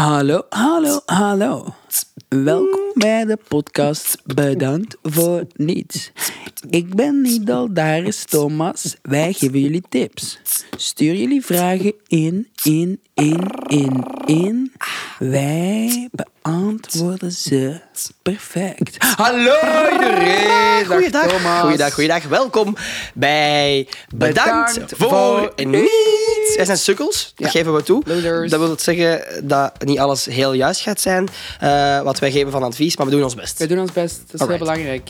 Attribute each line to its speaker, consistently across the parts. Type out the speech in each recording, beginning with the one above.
Speaker 1: Hallo, hallo, hallo. Welkom bij de podcast Bedankt voor niets. Ik ben Nidaldaris Thomas. Wij geven jullie tips. Stuur jullie vragen in, in, in, in, in. Wij beantwoorden ze perfect.
Speaker 2: Hallo iedereen! Dag
Speaker 3: Goeiedag.
Speaker 2: Thomas. Goeiedag, goeiedag. Welkom bij Bedankt,
Speaker 1: Bedankt
Speaker 2: voor
Speaker 1: voor
Speaker 2: Niets. Wij zijn sukkels, dat
Speaker 1: Ja.
Speaker 2: geven we toe.
Speaker 1: Losers.
Speaker 2: Dat wil het zeggen dat niet alles heel juist gaat zijn eh, wat wij geven van advies, maar we doen ons best.
Speaker 1: We doen ons best, dat is heel
Speaker 2: Alright.
Speaker 1: belangrijk.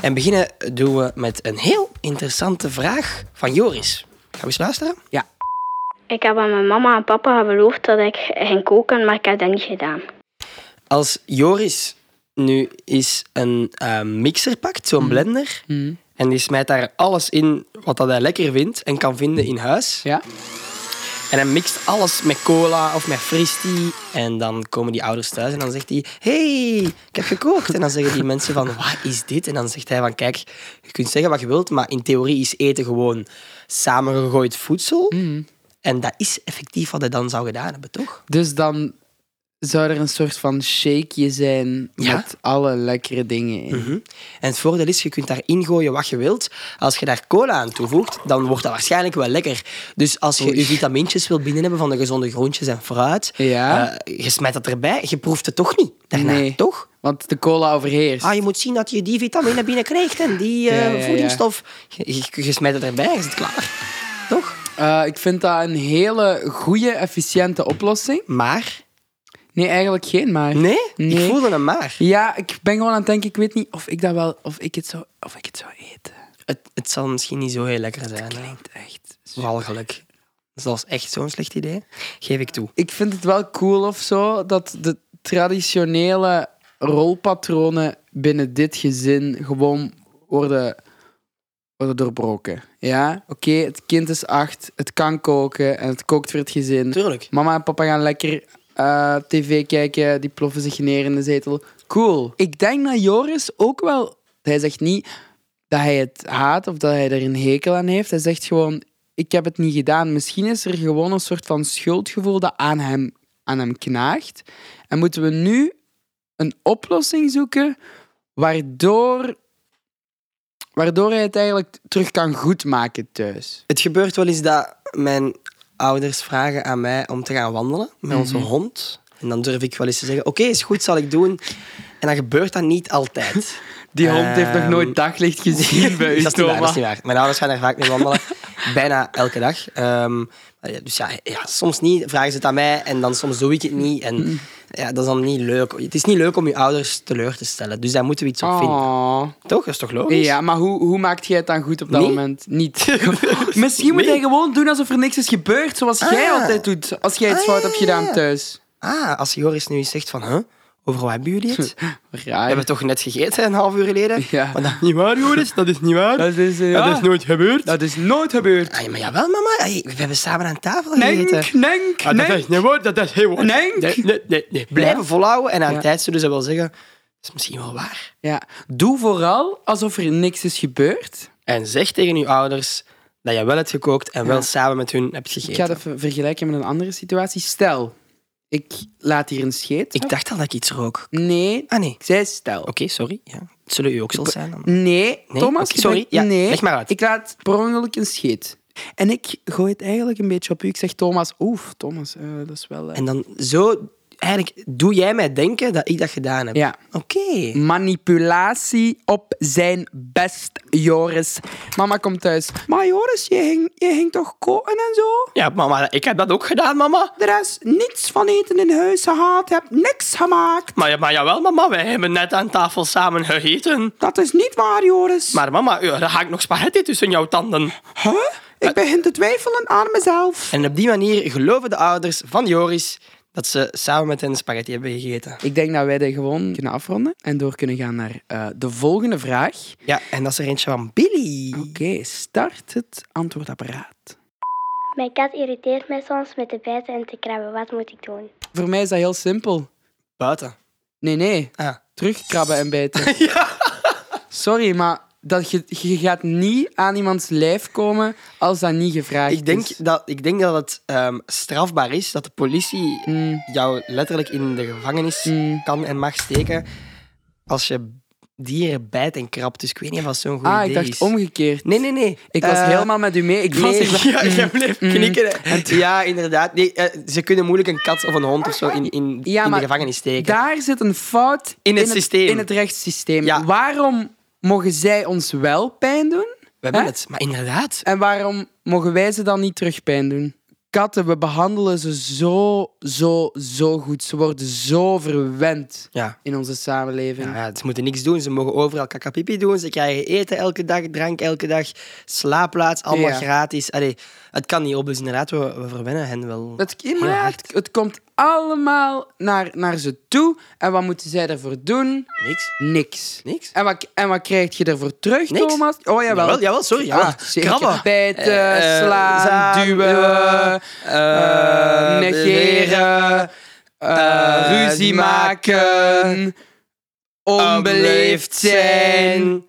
Speaker 2: En beginnen doen we met een heel interessante vraag van Joris. Gaan we eens luisteren?
Speaker 1: Ja,
Speaker 4: Ik heb aan mijn mama en papa beloofd dat ik ging koken, maar ik heb dat niet gedaan.
Speaker 2: Als Joris nu eens een eh, mixer pakt, zo'n blender, en die smijt daar alles in wat dat hij lekker vindt en kan vinden in huis...
Speaker 1: ja.
Speaker 2: En hij mixt alles met cola of met fristie. En dan komen die ouders thuis en dan zegt hij... hey, ik heb gekookt. En dan zeggen die mensen van, wat is dit? En dan zegt hij van, kijk, je kunt zeggen wat je wilt, maar in theorie is eten gewoon samengegooid voedsel. En dat is effectief wat hij dan zou gedaan hebben, toch?
Speaker 1: Dus dan zou er een soort van shakeje zijn
Speaker 2: Ja.
Speaker 1: met alle lekkere dingen in.
Speaker 2: En het voordeel is, je kunt daarin gooien wat je wilt. Als je daar cola aan toevoegt, dan wordt dat waarschijnlijk wel lekker. Dus als je je vitamintjes wilt binnen hebben van de gezonde groentjes en fruit,
Speaker 1: Ja.
Speaker 2: eh, je smijt dat erbij, je proeft het toch niet daarna,
Speaker 1: Nee.
Speaker 2: toch?
Speaker 1: Want de cola overheerst.
Speaker 2: Ah, je moet zien dat je die vitamine binnenkrijgt en die eh,
Speaker 1: Ja, ja, ja.
Speaker 2: voedingsstof. Je, je, je smijt het erbij, is het klaar. Toch?
Speaker 1: Eh, ik vind dat een hele goede, efficiënte oplossing.
Speaker 2: Maar?
Speaker 1: Nee, eigenlijk geen, maar.
Speaker 2: Nee? Ik
Speaker 1: Nee.
Speaker 2: voelde een maar.
Speaker 1: Ja, ik ben gewoon aan het denken, ik weet niet of ik dat wel, of ik het zou, of ik het zou eten.
Speaker 2: Het, het zal misschien niet zo heel lekker zijn. hè.
Speaker 1: Klinkt echt. zo-
Speaker 2: Walgelijk. Dus Dat was echt zo'n slecht idee. Geef ik toe.
Speaker 1: Ik vind het wel cool of zo dat de traditionele rolpatronen binnen dit gezin gewoon worden, worden doorbroken. Ja, oké, het kind is acht, het kan koken en het kookt voor het gezin.
Speaker 2: Tuurlijk.
Speaker 1: Mama en papa gaan lekker eh, tv kijken, die ploffen zich neer in de zetel. Cool. Ik denk dat Joris ook wel... Hij zegt niet dat hij het haat of dat hij er een hekel aan heeft. Hij zegt gewoon, ik heb het niet gedaan. Misschien is er gewoon een soort van schuldgevoel dat aan hem, aan hem knaagt. En moeten we nu een oplossing zoeken waardoor, waardoor hij het eigenlijk terug kan goedmaken thuis.
Speaker 2: Het gebeurt wel eens dat mijn ouders vragen aan mij om te gaan wandelen met onze
Speaker 1: Mhm.
Speaker 2: hond. En dan durf ik wel eens te zeggen, oké, is goed, zal ik doen. En dan gebeurt dat niet altijd.
Speaker 1: Die hond heeft nog
Speaker 2: Ehm,
Speaker 1: nooit daglicht gezien bij u,
Speaker 2: dat, is niet waar, dat is
Speaker 1: Thomas.
Speaker 2: niet waar. Mijn ouders gaan daar vaak mee wandelen. Bijna elke dag. Ehm, dus ja, ja, soms niet. Vragen ze het aan mij en dan soms doe ik het niet.
Speaker 1: Mhm.
Speaker 2: En ja, dat is dan niet leuk. Het is niet leuk om je ouders teleur te stellen. Dus daar moeten we iets op vinden.
Speaker 1: Oh.
Speaker 2: Toch? Dat is toch logisch?
Speaker 1: Ja, maar hoe, hoe maakt jij het dan goed op dat
Speaker 2: Nee?
Speaker 1: moment? Niet. Misschien moet
Speaker 2: Nee.
Speaker 1: hij gewoon doen alsof er niks is gebeurd, zoals jij
Speaker 2: Ah.
Speaker 1: altijd doet. Als jij iets
Speaker 2: Ah,
Speaker 1: fout
Speaker 2: ja,
Speaker 1: hebt
Speaker 2: ja, ja.
Speaker 1: gedaan thuis.
Speaker 2: Ah, als Joris nu eens zegt van, huh? Over wat hebben jullie
Speaker 1: Hm.
Speaker 2: het? We
Speaker 1: Raar.
Speaker 2: hebben toch net gegeten, een half uur geleden?
Speaker 1: Ja.
Speaker 2: Maar dat is niet waar, Joris. Dat is niet waar.
Speaker 1: Dat is, eh, ja.
Speaker 2: nooit gebeurd.
Speaker 1: Dat is nooit gebeurd.
Speaker 2: Ah, ja, maar jawel, mama. Hey, we hebben samen aan tafel
Speaker 1: Nenk,
Speaker 2: gegeten.
Speaker 1: nenk,
Speaker 2: Ah,
Speaker 1: nenk.
Speaker 2: niet waar, dat is heel waar.
Speaker 1: Nenk.
Speaker 2: Nee, nee, nee, nee. Blijven
Speaker 1: Ja.
Speaker 2: volhouden en aan
Speaker 1: Ja.
Speaker 2: tijd zullen ze wel zeggen, dat is misschien wel waar.
Speaker 1: Ja. Doe vooral alsof er niks is gebeurd.
Speaker 2: En zeg tegen je ouders dat je wel hebt gekookt en wel samen met hun hebt
Speaker 1: Ik ga
Speaker 2: gegeten.
Speaker 1: dat ver- vergelijken met een andere situatie. Stel, ik laat hier een scheet.
Speaker 2: Ik dacht al dat ik iets rook.
Speaker 1: Nee,
Speaker 2: Ah nee,
Speaker 1: ik zei stel.
Speaker 2: oké, sorry. Ja. Het zullen u ook zo zijn dan.
Speaker 1: Nee, Thomas,
Speaker 2: oké,
Speaker 1: je
Speaker 2: sorry.
Speaker 1: bent-
Speaker 2: Ja,
Speaker 1: nee.
Speaker 2: leg maar uit.
Speaker 1: Ik laat per ongeluk een scheet. En ik gooi het eigenlijk een beetje op u. Ik zeg Thomas, oef, Thomas, eh, dat is wel... eh,
Speaker 2: En dan zo, eigenlijk doe jij mij denken dat ik dat gedaan heb.
Speaker 1: Ja.
Speaker 2: Oké.
Speaker 1: Manipulatie op zijn best, Joris. Mama komt thuis. Maar Joris, je ging, je ging toch koken en zo?
Speaker 2: Ja, mama, ik heb dat ook gedaan, mama.
Speaker 1: Er is niets van eten in huis gehaald. Je hebt niks gemaakt.
Speaker 2: Maar, maar jawel, mama, wij hebben net aan tafel samen gegeten.
Speaker 1: Dat is niet waar, Joris.
Speaker 2: Maar mama, eh, er hangt nog spaghetti tussen jouw tanden.
Speaker 1: Huh? Ik begin te twijfelen aan mezelf.
Speaker 2: En op die manier geloven de ouders van Joris dat ze samen met hen spaghetti hebben gegeten.
Speaker 1: Ik denk dat wij dit gewoon kunnen afronden en door kunnen gaan naar eh, de volgende vraag.
Speaker 2: Ja, en dat is er eentje van Billy.
Speaker 1: Oké, start het antwoordapparaat.
Speaker 4: Mijn kat irriteert mij soms met te bijten en te krabben. Wat moet ik doen?
Speaker 1: Voor mij is dat heel simpel.
Speaker 2: Buiten.
Speaker 1: Nee, nee.
Speaker 2: Ah.
Speaker 1: Terugkrabben en bijten. Sorry, maar dat je, je gaat niet aan iemands lijf komen als dat niet gevraagd
Speaker 2: Ik denk
Speaker 1: is.
Speaker 2: dat, ik denk dat het ehm, strafbaar is dat de politie jou letterlijk in de gevangenis kan en mag steken als je dieren bijt en krabt. Dus ik weet niet of dat zo'n goed
Speaker 1: Ah,
Speaker 2: idee
Speaker 1: ik dacht
Speaker 2: is.
Speaker 1: omgekeerd.
Speaker 2: Nee, nee, nee.
Speaker 1: Ik was
Speaker 2: Eh,
Speaker 1: helemaal met u mee. Ik mm, was
Speaker 2: Nee,
Speaker 1: echt-
Speaker 2: ja, jij bleef knikken. Ja, inderdaad. Nee, eh, ze kunnen moeilijk een kat of een hond of zo in, in,
Speaker 1: Ja,
Speaker 2: in de
Speaker 1: maar
Speaker 2: gevangenis steken.
Speaker 1: Daar zit een fout
Speaker 2: In het systeem.
Speaker 1: in het rechtssysteem.
Speaker 2: Ja.
Speaker 1: Waarom mogen zij ons wel pijn doen?
Speaker 2: We hebben
Speaker 1: Hè?
Speaker 2: het. Maar inderdaad.
Speaker 1: En waarom mogen wij ze dan niet terug pijn doen? Katten, we behandelen ze zo, zo, zo goed. Ze worden zo verwend
Speaker 2: Ja.
Speaker 1: in onze samenleving.
Speaker 2: Nou ja, ze moeten niks doen. Ze mogen overal kakapipi doen. Ze krijgen eten elke dag, drank elke dag, slaapplaats, allemaal
Speaker 1: Ja.
Speaker 2: gratis. Allee, het kan niet op, dus inderdaad, we, we verwennen hen wel.
Speaker 1: Het,
Speaker 2: Heel
Speaker 1: ja,
Speaker 2: hard.
Speaker 1: het, het komt allemaal naar, naar ze toe. En wat moeten zij ervoor doen?
Speaker 2: Niks.
Speaker 1: Niks.
Speaker 2: Niks.
Speaker 1: En wat, en wat krijg je ervoor terug,
Speaker 2: Niks.
Speaker 1: Thomas? Oh, jawel. Oh,
Speaker 2: Jawel, jawel, sorry, jawel.
Speaker 1: Ah, zeker.
Speaker 2: Krabben.
Speaker 1: Bijten,
Speaker 2: Eh, eh,
Speaker 1: slaan,
Speaker 2: zaan,
Speaker 1: duwen,
Speaker 2: duwen,
Speaker 1: eh,
Speaker 2: eh,
Speaker 1: negeren, eh,
Speaker 2: eh,
Speaker 1: ruzie
Speaker 2: die
Speaker 1: maken, onbeleefd zijn.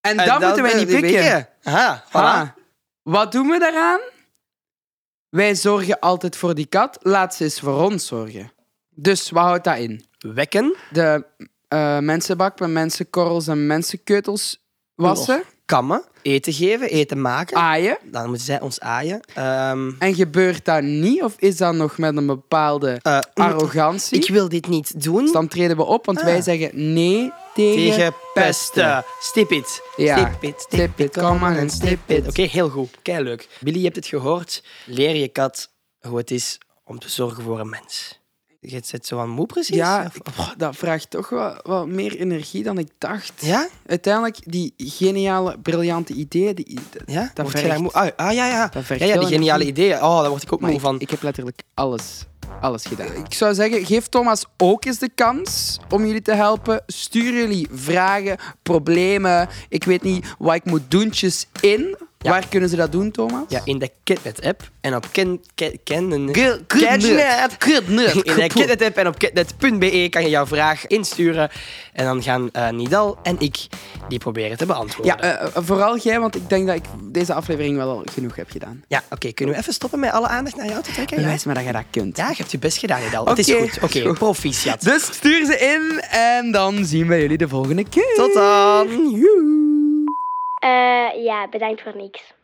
Speaker 1: En, dat moeten
Speaker 2: eh,
Speaker 1: wij niet pikken.
Speaker 2: Aha, voilà.
Speaker 1: Ah, Wat doen we daaraan? Wij zorgen altijd voor die kat. Laat ze eens voor ons zorgen. Dus wat houdt dat in?
Speaker 2: Wekken,
Speaker 1: De eh, mensenbak met mensenkorrels en mensenkeutels wassen,
Speaker 2: kammen, eten geven, eten maken.
Speaker 1: aaien.
Speaker 2: Dan moeten zij ons aaien. Ehm,
Speaker 1: En gebeurt dat niet? Of is dat nog met een bepaalde
Speaker 2: eh,
Speaker 1: arrogantie?
Speaker 2: ik wil dit niet doen.
Speaker 1: Dus dan treden we op, want
Speaker 2: Ah.
Speaker 1: wij zeggen nee tegen,
Speaker 2: tegen pesten. Stip it.
Speaker 1: Ja.
Speaker 2: Stip it, stip it, come on and stip it. Oké, heel goed. Kei leuk. Billy, je hebt het gehoord. Leer je kat hoe het is om te zorgen voor een mens. Je zit zo aan moe precies?
Speaker 1: Ja,
Speaker 2: Of-
Speaker 1: ik- oh, dat vraagt toch wel, wel meer energie dan ik dacht.
Speaker 2: Ja?
Speaker 1: Uiteindelijk, die geniale, briljante ideeën, die, dat,
Speaker 2: Ja?
Speaker 1: dat
Speaker 2: Word je daar
Speaker 1: vergt-
Speaker 2: moe? Ah, ah, ja, ja.
Speaker 1: dat
Speaker 2: Ja,
Speaker 1: vergt
Speaker 2: ja, die
Speaker 1: heel
Speaker 2: geniale
Speaker 1: energie.
Speaker 2: ideeën. Oh, daar word ik ook
Speaker 1: Maar
Speaker 2: moe
Speaker 1: ik,
Speaker 2: van.
Speaker 1: ik heb letterlijk alles, alles gedaan. Ik zou zeggen, geef Thomas ook eens de kans om jullie te helpen. Stuur jullie vragen, problemen, ik weet niet wat ik moet doentjes in. Waar kunnen ze dat doen, Thomas?
Speaker 2: Ja, in de KidNet-app en op ken, ken, ken,
Speaker 1: Ge-
Speaker 2: KidNet.
Speaker 1: Kidnet.
Speaker 2: In de
Speaker 1: Kidnet.
Speaker 2: KidNet-app en op kidnet.be E kan je jouw vraag insturen. En dan gaan eh, Nidal en ik die proberen te beantwoorden.
Speaker 1: Ja, eh, eh, vooral jij, want ik denk dat ik deze aflevering wel al genoeg heb gedaan.
Speaker 2: Ja, oké. kunnen we even stoppen met alle aandacht naar jou te trekken? Ja,
Speaker 1: Bewijs maar dat je dat kunt.
Speaker 2: ja je hebt je best gedaan, Nidal. Het
Speaker 1: Oké.
Speaker 2: is goed. Oké,
Speaker 1: Goed.
Speaker 2: proficiat.
Speaker 1: Dus stuur ze in en dan zien we jullie de volgende keer.
Speaker 2: Tot dan. Joe.
Speaker 4: Eh, ja, bedankt voor niks.